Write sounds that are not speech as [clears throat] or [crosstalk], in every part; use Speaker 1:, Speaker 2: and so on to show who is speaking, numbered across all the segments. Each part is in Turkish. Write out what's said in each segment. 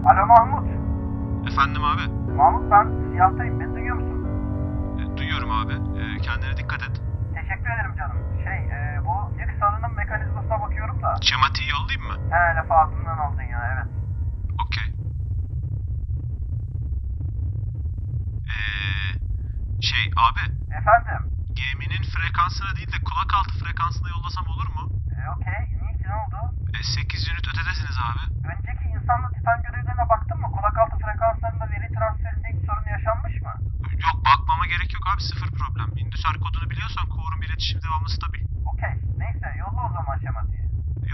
Speaker 1: Şey,
Speaker 2: E,
Speaker 1: e, He laf ağzından aldın ya evet.
Speaker 2: Okey. Ee, şey abi,
Speaker 1: Efendim?
Speaker 2: geminin frekansına değil de kulak altı frekansına yollasam olur mu?
Speaker 1: E, Okey. Niçin oldu?
Speaker 2: E, 8 unit ötedesiniz abi.
Speaker 1: Önceki insanlı titan görevlerine baktın mı? Kulak altı frekanslarında veri transferinde hiç sorun yaşanmış mı?
Speaker 2: Yok bakmama gerek yok abi sıfır problem. İndüser kodunu biliyorsan Kovrum iletişim devamlı stabil.
Speaker 1: Okey. Neyse yolla o zaman şematiği.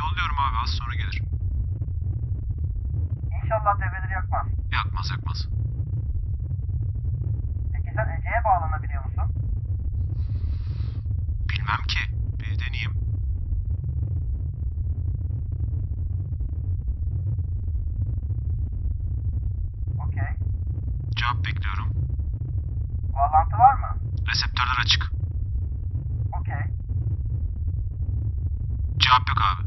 Speaker 2: Yolluyorum abi az sonra gelir.
Speaker 1: İnşallah devreleri yakmaz.
Speaker 2: Yakmaz yakmaz.
Speaker 1: Peki sen Ece'ye bağlanabiliyor musun?
Speaker 2: Bilmem ki. Bir deneyeyim.
Speaker 1: Okey.
Speaker 2: Cevap bekliyorum.
Speaker 1: Bağlantı var mı?
Speaker 2: Reseptörler açık.
Speaker 1: Okey.
Speaker 2: Cevap yok abi.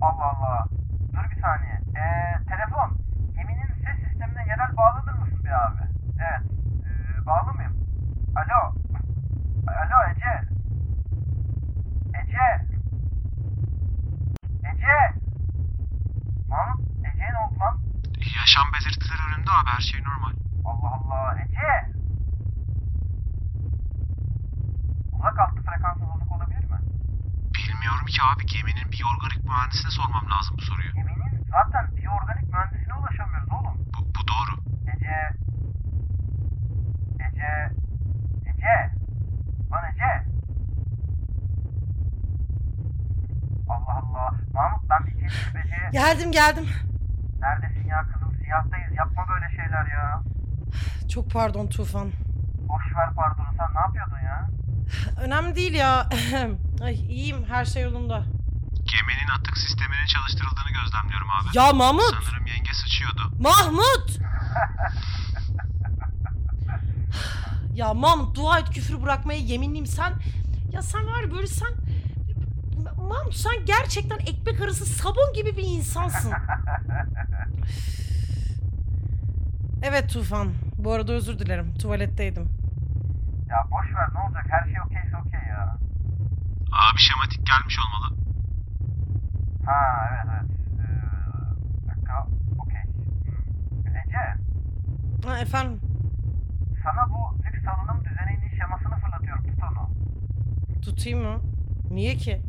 Speaker 1: Allah Allah. Dur bir saniye. Ee, telefon. Geminin ses sistemine yerel bağlanır mısın bir abi? Evet. Ee, bağlı mıyım? Alo. Alo Ece. Ece. Ece. Mahmut Ece'ye ne oldu lan?
Speaker 2: Yaşam belirtileri önümde abi her şey normal.
Speaker 1: Allah Allah. Ece. Uzak altı frekansı bozuk olabilir mi?
Speaker 2: Bilmiyorum ki abi geminin bir organik mühendisine sormam lazım bu soruyu.
Speaker 1: Geminin zaten biyoorganik mühendisine ulaşamıyoruz oğlum.
Speaker 2: Bu, bu doğru.
Speaker 1: Ece. Ece. Ece. Lan Ece. Allah Allah. Mahmut ben bir şey diyeyim Ece.
Speaker 3: Geldim geldim.
Speaker 1: Neredesin ya kızım? Siyahtayız. Yapma böyle şeyler ya.
Speaker 3: Çok pardon Tufan.
Speaker 1: Boş ver pardonu. Sen ne yapıyordun ya?
Speaker 3: Önemli değil ya. [clears throat] Ay iyiyim her şey yolunda.
Speaker 2: Geminin atık sisteminin çalıştırıldığını gözlemliyorum abi.
Speaker 3: Ya Mahmut!
Speaker 2: Sanırım yenge sıçıyordu.
Speaker 3: Mahmut! [sighs] ya Mahmut dua et küfür bırakmaya yeminliyim sen. Ya sen var ya böyle sen... Mahmut sen gerçekten ekmek arası sabun gibi bir insansın. evet Tufan. Bu arada özür dilerim. Tuvaletteydim.
Speaker 1: Ya boş ver ne olacak? Her şey okeyse okey ya.
Speaker 2: Abi şematik gelmiş olmalı.
Speaker 1: Ha evet evet. Ee, bir dakika. Okey. Hmm. Ece.
Speaker 3: Ha, efendim
Speaker 1: Sana bu lüks salınım düzeninin şemasını fırlatıyorum. Tut onu.
Speaker 3: tutayım mı? Niye ki?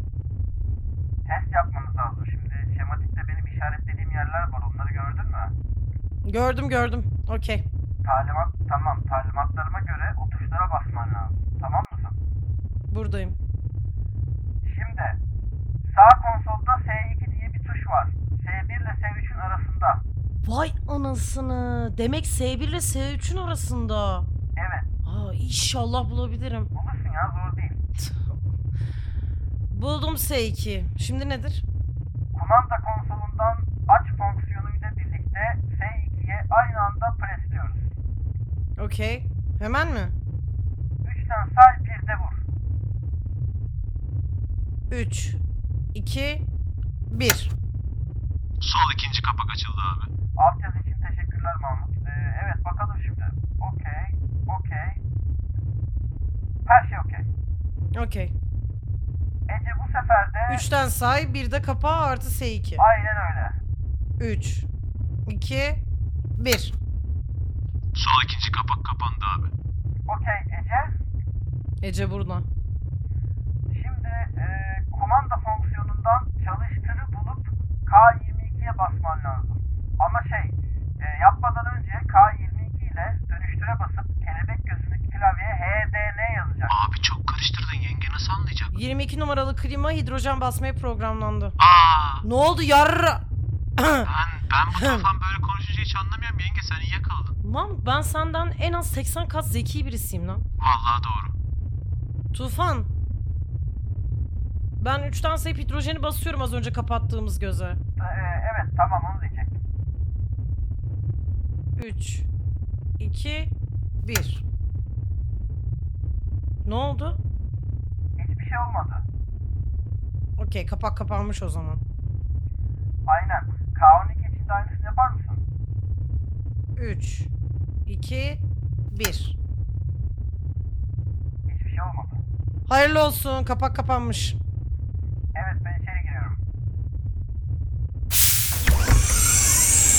Speaker 1: Test yapmanız lazım şimdi. Şematikte benim işaretlediğim yerler var. Onları gördün mü?
Speaker 3: Gördüm gördüm. Okey.
Speaker 1: Talimat tamam. Talimatlarıma göre o tuşlara basman lazım. Tamam mısın?
Speaker 3: Buradayım.
Speaker 1: Şimdi sağ konsolda S2 diye bir tuş var. S1 ile S3'ün arasında.
Speaker 3: Vay anasını. Demek S1 ile S3'ün arasında.
Speaker 1: Evet.
Speaker 3: Aa, inşallah bulabilirim.
Speaker 1: Bulursun ya zor değil.
Speaker 3: Buldum S2. Şimdi nedir?
Speaker 1: Kumanda konsolundan aç fonksiyonuyla birlikte S2'ye aynı anda presliyoruz.
Speaker 3: Okey. Hemen mi?
Speaker 1: 3'ten say 1'de vur.
Speaker 3: 3, 2, 1.
Speaker 2: Sol ikinci kapak açıldı abi.
Speaker 1: Altyazı için teşekkürler Mahmut. Ee, evet bakalım şimdi. Okey. Okey. Her şey okey.
Speaker 3: Okey.
Speaker 1: Ece bu sefer de
Speaker 3: 3'ten say, bir de kapağı artı S2.
Speaker 1: aynen öyle.
Speaker 3: 3, 2, 1.
Speaker 2: Sol ikinci kapak kapandı abi.
Speaker 1: Okey Ece.
Speaker 3: Ece burada.
Speaker 1: Şimdi e, kumanda fonksiyonundan çalıştırı bulup K22'ye basman lazım. Ama şey e, yapmadan önce K22 ile dönüştüre basıp kelebek gözündeki klavyeye HDN yazacak.
Speaker 2: Abi çok karıştırdın yenge nasıl anlayacak?
Speaker 3: 22 numaralı klima hidrojen basmaya programlandı.
Speaker 2: Aa
Speaker 3: Ne oldu yarra?
Speaker 2: ben ben bu kafam böyle konuşunca hiç anlamıyorum yenge sen iyi yakaladın.
Speaker 3: Mam ben senden en az 80 kat zeki birisiyim lan.
Speaker 2: Vallahi doğru.
Speaker 3: Tufan. Ben 3'ten sayıp hidrojeni basıyorum az önce kapattığımız göze.
Speaker 1: E, evet tamam onu diyecek.
Speaker 3: 3 2 1 Ne oldu?
Speaker 1: Hiçbir şey olmadı.
Speaker 3: Okey kapak kapanmış o zaman.
Speaker 1: Aynen. K12 için de aynısını yapar mısın?
Speaker 3: 3 2 1
Speaker 1: Hiçbir şey olmadı.
Speaker 3: Hayırlı olsun kapak kapanmış.
Speaker 1: Evet ben içeri giriyorum.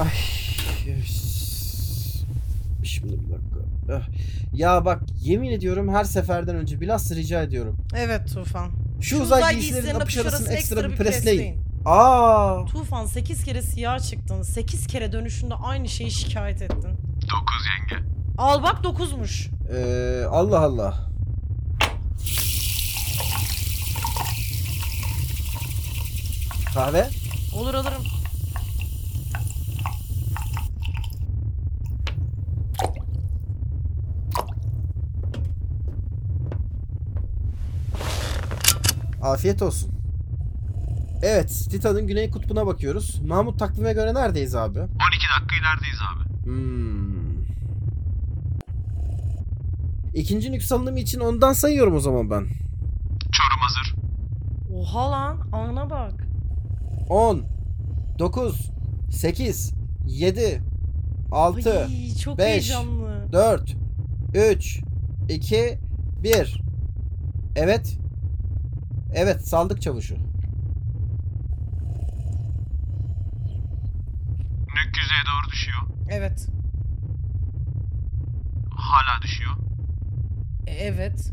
Speaker 4: Ay. Şimdi bir dakika. Ah. Ya bak yemin ediyorum her seferden önce bilhassa rica ediyorum.
Speaker 3: Evet Tufan.
Speaker 4: Şu, uzay, giysilerin apış arasını ekstra bir presleyin. Aa.
Speaker 3: Tufan 8 kere siyah çıktın. 8 kere dönüşünde aynı şeyi şikayet
Speaker 2: 9
Speaker 3: ettin.
Speaker 2: yenge.
Speaker 3: Al bak 9'muş.
Speaker 4: Ee, Allah Allah. Kahve?
Speaker 3: Olur alırım.
Speaker 4: Afiyet olsun. Evet, Titan'ın güney kutbuna bakıyoruz. Mahmut takvime göre neredeyiz abi?
Speaker 2: 12 dakika ilerideyiz abi.
Speaker 4: Hmm. İkinci nüks salınımı için ondan sayıyorum o zaman ben.
Speaker 2: Çorum hazır.
Speaker 3: Oha lan ana bak.
Speaker 4: 10, 9, 8, 7, 6,
Speaker 3: Ay, çok
Speaker 4: beş,
Speaker 3: heyecanlı.
Speaker 4: 4, 3, 2, 1. Evet. Evet, saldık çavuşu.
Speaker 2: Nük yüzeye doğru düşüyor.
Speaker 3: Evet.
Speaker 2: Hala düşüyor.
Speaker 3: E, Evet.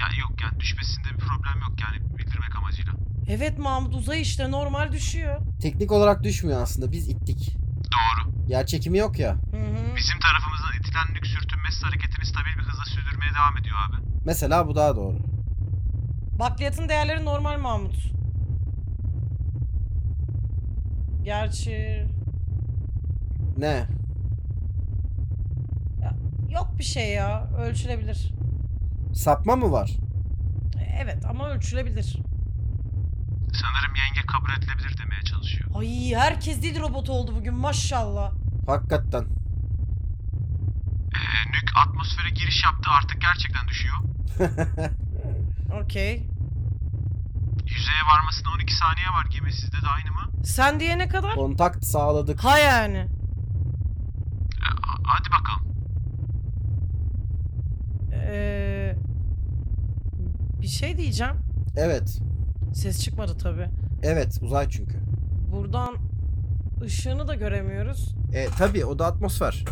Speaker 2: Yani yok yani düşmesinde bir problem yok yani bildirmek amacıyla.
Speaker 3: Evet Mahmut uzay işte normal düşüyor.
Speaker 4: Teknik olarak düşmüyor aslında. Biz ittik.
Speaker 2: Doğru.
Speaker 4: Yer çekimi yok ya.
Speaker 3: Hı hı.
Speaker 2: Bizim tarafımızdan itilen nük sürtünmesi hareketini stabil bir hızla sürdürmeye devam ediyor abi.
Speaker 4: Mesela bu daha doğru.
Speaker 3: Bakliyatın değerleri normal Mahmut. Gerçi
Speaker 4: Ne?
Speaker 3: yok bir şey ya. Ölçülebilir.
Speaker 4: Sapma mı var?
Speaker 3: E, Evet ama ölçülebilir.
Speaker 2: Sanırım yenge kabul edilebilir demeye çalışıyor.
Speaker 3: Ay herkes dil robotu oldu bugün maşallah.
Speaker 4: Hakikaten.
Speaker 2: Ee, nük atmosfere giriş yaptı artık gerçekten düşüyor.
Speaker 3: Okey.
Speaker 2: Yüzeye varmasına 12 saniye var gemi sizde de aynı mı?
Speaker 3: Sen diye ne kadar?
Speaker 4: Kontakt sağladık.
Speaker 3: Ha yani.
Speaker 2: Ee, a- hadi bakalım.
Speaker 3: Ee, bir şey diyeceğim.
Speaker 4: Evet.
Speaker 3: Ses çıkmadı tabi.
Speaker 4: Evet, uzay çünkü.
Speaker 3: Buradan ışığını da göremiyoruz.
Speaker 4: E tabii o da atmosfer.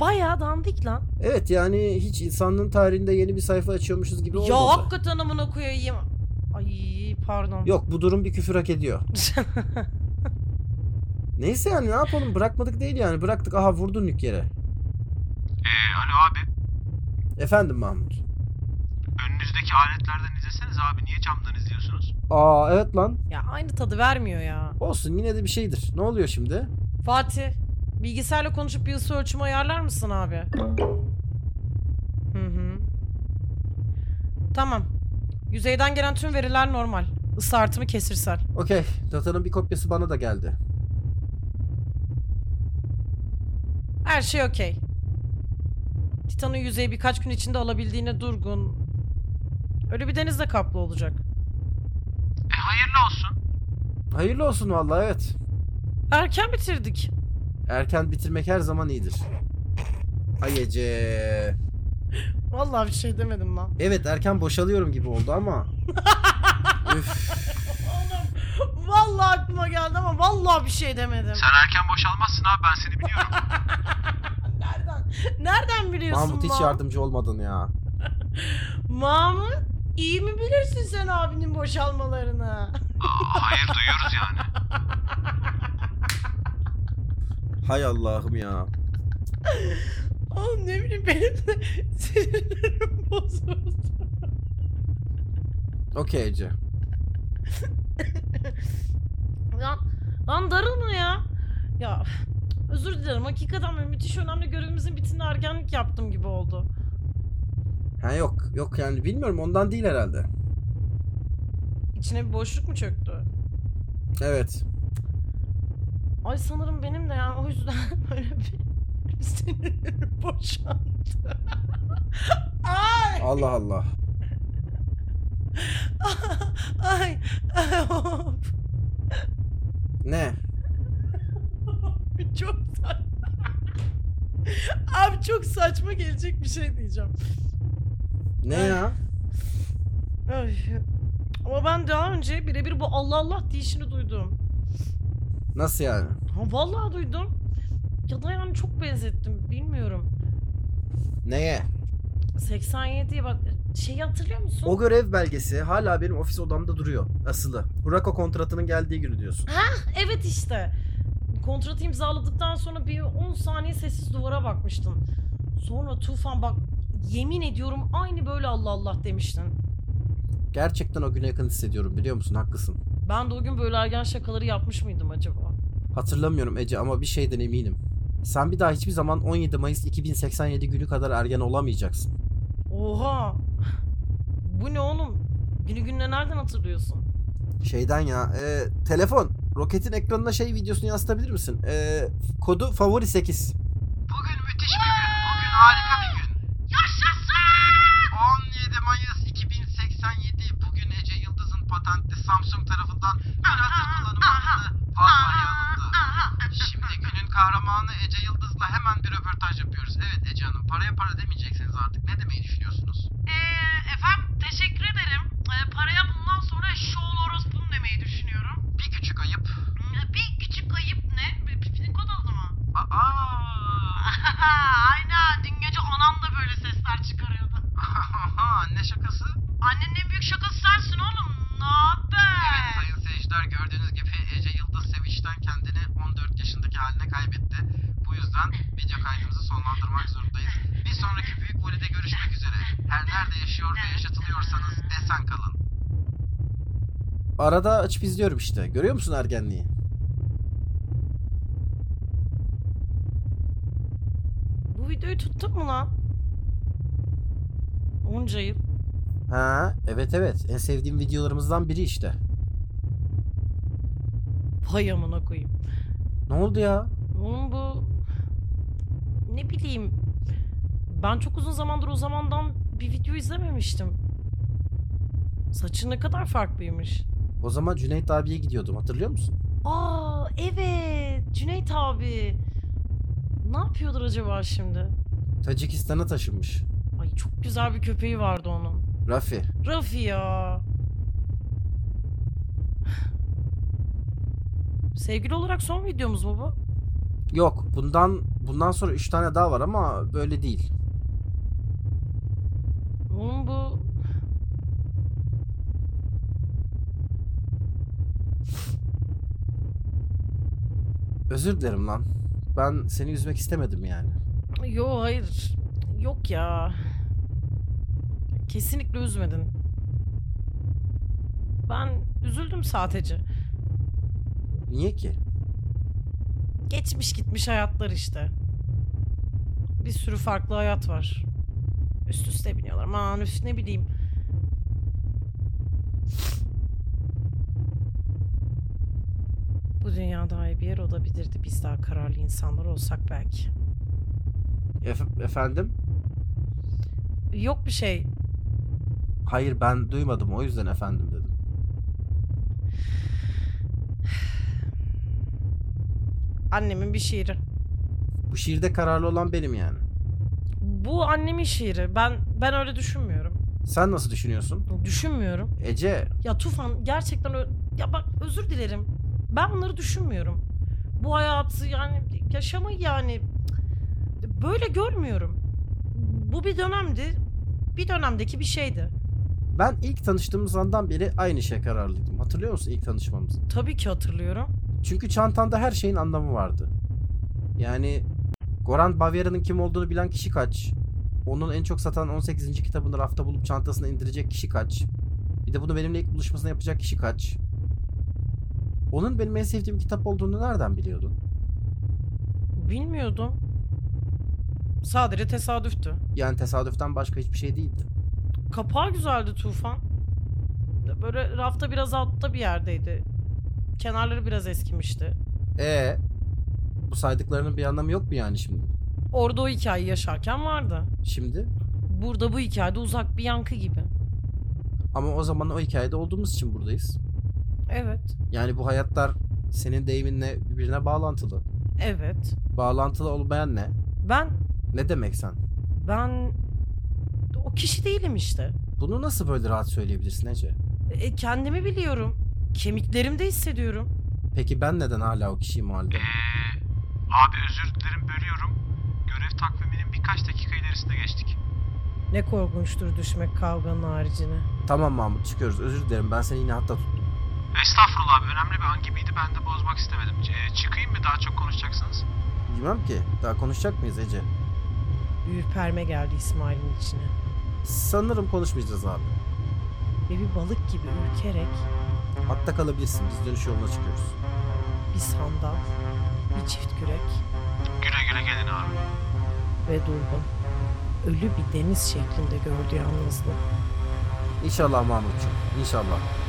Speaker 3: Bayağı dandik lan.
Speaker 4: Evet yani hiç insanlığın tarihinde yeni bir sayfa açıyormuşuz gibi olmadı.
Speaker 3: Ya hakikaten amına koyayım. Ay pardon.
Speaker 4: Yok bu durum bir küfür hak ediyor. Neyse yani ne yapalım bırakmadık değil yani bıraktık aha vurdun yük yere.
Speaker 2: Ee, alo abi
Speaker 4: Efendim Mahmut.
Speaker 2: önünüzdeki aletlerden izleseniz abi niye camdan izliyorsunuz?
Speaker 4: Aa evet lan
Speaker 3: [laughs] ya aynı tadı vermiyor ya.
Speaker 4: olsun yine de bir şeydir. Ne oluyor şimdi?
Speaker 3: Fatih, bilgisayarla konuşup bir ısı ölçümü ayarlar mısın abi? Hı hı. Tamam. Yüzeyden gelen tüm veriler normal. Isı artımı kesirsel.
Speaker 4: Okey datanın bir kopyası bana da geldi.
Speaker 3: Her şey okey. Titan'ın yüzeyi birkaç gün içinde alabildiğine durgun. Öyle bir denizle kaplı olacak.
Speaker 2: E hayırlı olsun.
Speaker 4: Hayırlı olsun vallahi evet.
Speaker 3: Erken bitirdik.
Speaker 4: Erken bitirmek her zaman iyidir. Ay Ece.
Speaker 3: Vallahi bir şey demedim lan.
Speaker 4: Evet erken boşalıyorum gibi oldu ama. Üf.
Speaker 3: Oğlum vallahi aklıma geldi ama vallahi bir şey demedim.
Speaker 2: Sen erken boşalmazsın abi ben seni biliyorum.
Speaker 3: Nereden? Nereden biliyorsun
Speaker 4: Mahmut hiç
Speaker 3: lan?
Speaker 4: yardımcı olmadın ya.
Speaker 3: Mahmut iyi mi bilirsin sen abinin boşalmalarını? [laughs]
Speaker 2: Aa, hayır duyuyoruz yani.
Speaker 4: Hay Allah'ım ya.
Speaker 3: Oğlum ne bileyim benim de [laughs] sinirlerim bozuldu.
Speaker 4: Okey Ece.
Speaker 3: Lan, lan darılma ya. Ya özür dilerim hakikaten böyle müthiş önemli görevimizin bitimine ergenlik yaptım gibi oldu.
Speaker 4: Ha yok yok yani bilmiyorum ondan değil herhalde.
Speaker 3: İçine bir boşluk mu çöktü?
Speaker 4: Evet.
Speaker 3: Ay sanırım benim de yani o yüzden [laughs] böyle bir sinirim boşandı. [laughs] Ay!
Speaker 4: Allah Allah.
Speaker 3: Ay! Ay! hop.
Speaker 4: Ne?
Speaker 3: çok saçma. [laughs] Abi çok saçma gelecek bir şey diyeceğim.
Speaker 4: Ne ya?
Speaker 3: Ay. Ama ben daha önce birebir bu Allah Allah diyişini duydum.
Speaker 4: Nasıl yani?
Speaker 3: Ha vallahi duydum. Ya da yani çok benzettim bilmiyorum.
Speaker 4: Neye?
Speaker 3: 87'ye bak şeyi hatırlıyor musun?
Speaker 4: O görev belgesi hala benim ofis odamda duruyor. Asılı. Hurako kontratının geldiği günü diyorsun.
Speaker 3: Evet işte. Kontratı imzaladıktan sonra bir 10 saniye sessiz duvara bakmıştın. Sonra Tufan bak yemin ediyorum aynı böyle Allah Allah demiştin.
Speaker 4: Gerçekten o güne yakın hissediyorum biliyor musun? Haklısın.
Speaker 3: Ben de o gün böyle ergen şakaları yapmış mıydım acaba?
Speaker 4: Hatırlamıyorum Ece ama bir şeyden eminim. Sen bir daha hiçbir zaman 17 Mayıs 2087 günü kadar ergen olamayacaksın.
Speaker 3: Oha! [laughs] Bu ne oğlum? Günü gününe nereden hatırlıyorsun?
Speaker 4: Şeyden ya. e, telefon. Roketin ekranına şey videosunu yansıtabilir misin? E, kodu favori 8.
Speaker 2: Bugün müthiş bir gün. Bugün harika bir gün. Yaşasın! 17 Mayıs 2087 bugün Ece Yıldız'ın patentli Samsung tarafından ön hazır kullanıma alındı. Vallahi alındı. Şimdi günün kahramanı Ece Yıldız'la hemen bir röportaj yapıyoruz. Evet Ece Hanım paraya para demeyeceksiniz artık. Ne demeyi düşünüyorsunuz?
Speaker 5: Ee, efendim teşekkür ederim. Ee, paraya bundan sonra şov orospum demeyi düşünüyorum.
Speaker 2: Bir küçük ayıp.
Speaker 5: Ee, Bir küçük ayıp ne? Bir pipinin kod aldı mı?
Speaker 2: Aa!
Speaker 5: Aynen dün gece anam da böyle sesler çıkarıyordu.
Speaker 2: ne şakası?
Speaker 5: Annenin en büyük şakası sensin oğlum. Ne haber?
Speaker 2: Evet sayın seyirciler gördüğünüz gibi Ece Yıldız Sevinç'ten kendini 14 yaşındaki haline kaybetti. Bu yüzden video kaydımızı sonlandırmak zorundayız. Bir sonraki büyük volide görüşmek üzere. Her nerede yaşıyor ve yaşatılıyorsanız esen kalın.
Speaker 4: Arada açıp izliyorum işte. Görüyor musun ergenliği?
Speaker 3: Bu videoyu tuttuk mu lan? Onca yıl.
Speaker 4: Ha, evet evet. En sevdiğim videolarımızdan biri işte.
Speaker 3: Vay amına koyayım.
Speaker 4: Ne oldu ya?
Speaker 3: Onun bu... Ne bileyim. Ben çok uzun zamandır o zamandan bir video izlememiştim. Saçı ne kadar farklıymış.
Speaker 4: O zaman Cüneyt abiye gidiyordum hatırlıyor musun?
Speaker 3: Aa evet Cüneyt abi. Ne yapıyordur acaba şimdi?
Speaker 4: Tacikistan'a taşınmış.
Speaker 3: Ay çok güzel bir köpeği vardı onun.
Speaker 4: Rafi.
Speaker 3: Rafi ya. Sevgili olarak son videomuz mu bu?
Speaker 4: Yok bundan bundan sonra 3 tane daha var ama böyle değil.
Speaker 3: Onun bu...
Speaker 4: Özür dilerim lan. Ben seni üzmek istemedim yani.
Speaker 3: Yo hayır. Yok ya. Kesinlikle üzmedin. Ben üzüldüm sadece.
Speaker 4: Niye ki?
Speaker 3: Geçmiş gitmiş hayatlar işte. Bir sürü farklı hayat var. Üst üste biniyorlar. Aman üf ne bileyim. Bu dünya daha iyi bir yer olabilirdi. Biz daha kararlı insanlar olsak belki.
Speaker 4: Efe- efendim?
Speaker 3: Yok bir şey.
Speaker 4: Hayır ben duymadım o yüzden efendim dedim.
Speaker 3: Annemin bir şiiri.
Speaker 4: Bu şiirde kararlı olan benim yani.
Speaker 3: Bu annemin şiiri. Ben ben öyle düşünmüyorum.
Speaker 4: Sen nasıl düşünüyorsun?
Speaker 3: Düşünmüyorum.
Speaker 4: Ece
Speaker 3: Ya Tufan gerçekten ö- ya bak özür dilerim. Ben bunları düşünmüyorum. Bu hayatı yani yaşamı yani böyle görmüyorum. Bu bir dönemdi. Bir dönemdeki bir şeydi.
Speaker 4: ben ilk tanıştığımız andan beri aynı şeye kararlıydım. Hatırlıyor musun ilk tanışmamızı?
Speaker 3: Tabii ki hatırlıyorum.
Speaker 4: Çünkü çantanda her şeyin anlamı vardı. Yani Goran Bavyera'nın kim olduğunu bilen kişi kaç? Onun en çok satan 18. kitabını rafta bulup çantasına indirecek kişi kaç? Bir de bunu benimle ilk buluşmasına yapacak kişi kaç? Onun benim en sevdiğim kitap olduğunu nereden biliyordun?
Speaker 3: Bilmiyordum. Sadece tesadüftü.
Speaker 4: Yani tesadüften başka hiçbir şey değildi.
Speaker 3: Kapağı güzeldi Tufan. Böyle rafta biraz altta bir yerdeydi. Kenarları biraz eskimişti.
Speaker 4: E Bu saydıklarının bir anlamı yok mu yani şimdi?
Speaker 3: Orada o hikayeyi yaşarken vardı.
Speaker 4: Şimdi?
Speaker 3: Burada bu hikayede uzak bir yankı gibi.
Speaker 4: Ama o zaman o hikayede olduğumuz için buradayız.
Speaker 3: Evet.
Speaker 4: Yani bu hayatlar senin deyiminle birbirine bağlantılı.
Speaker 3: Evet.
Speaker 4: Bağlantılı olmayan ne?
Speaker 3: Ben
Speaker 4: Ne demek sen?
Speaker 3: ben o kişi değilim işte.
Speaker 4: Bunu nasıl böyle rahat söyleyebilirsin Ece?
Speaker 3: E, kendimi biliyorum. Kemiklerimde hissediyorum.
Speaker 4: Peki ben neden hala o kişiyim o halde?
Speaker 2: Ee, abi özür dilerim bölüyorum. Görev takviminin birkaç dakika ilerisine geçtik.
Speaker 3: Ne korkunçtur düşmek kavganın haricine.
Speaker 4: Tamam Mahmut çıkıyoruz özür dilerim ben seni yine hatta tuttum.
Speaker 2: Estağfurullah abi önemli bir an gibiydi ben de bozmak istemedim. Ee, çıkayım mı daha çok konuşacaksınız?
Speaker 4: Bilmem ki daha konuşacak mıyız Ece?
Speaker 3: Bir ürperme geldi İsmail'in içine.
Speaker 4: Sanırım konuşmayacağız abi.
Speaker 3: Ve bir balık gibi ürkerek
Speaker 4: Hatta kalabilirsin biz dönüş yoluna çıkıyoruz.
Speaker 3: bir sandal, bir çift kürek
Speaker 2: Güle güle gelin abi.
Speaker 3: ve durgun. Ölü bir deniz şeklinde gördü yalnızlığı.
Speaker 4: İnşallah Mahmutcuğum inşallah.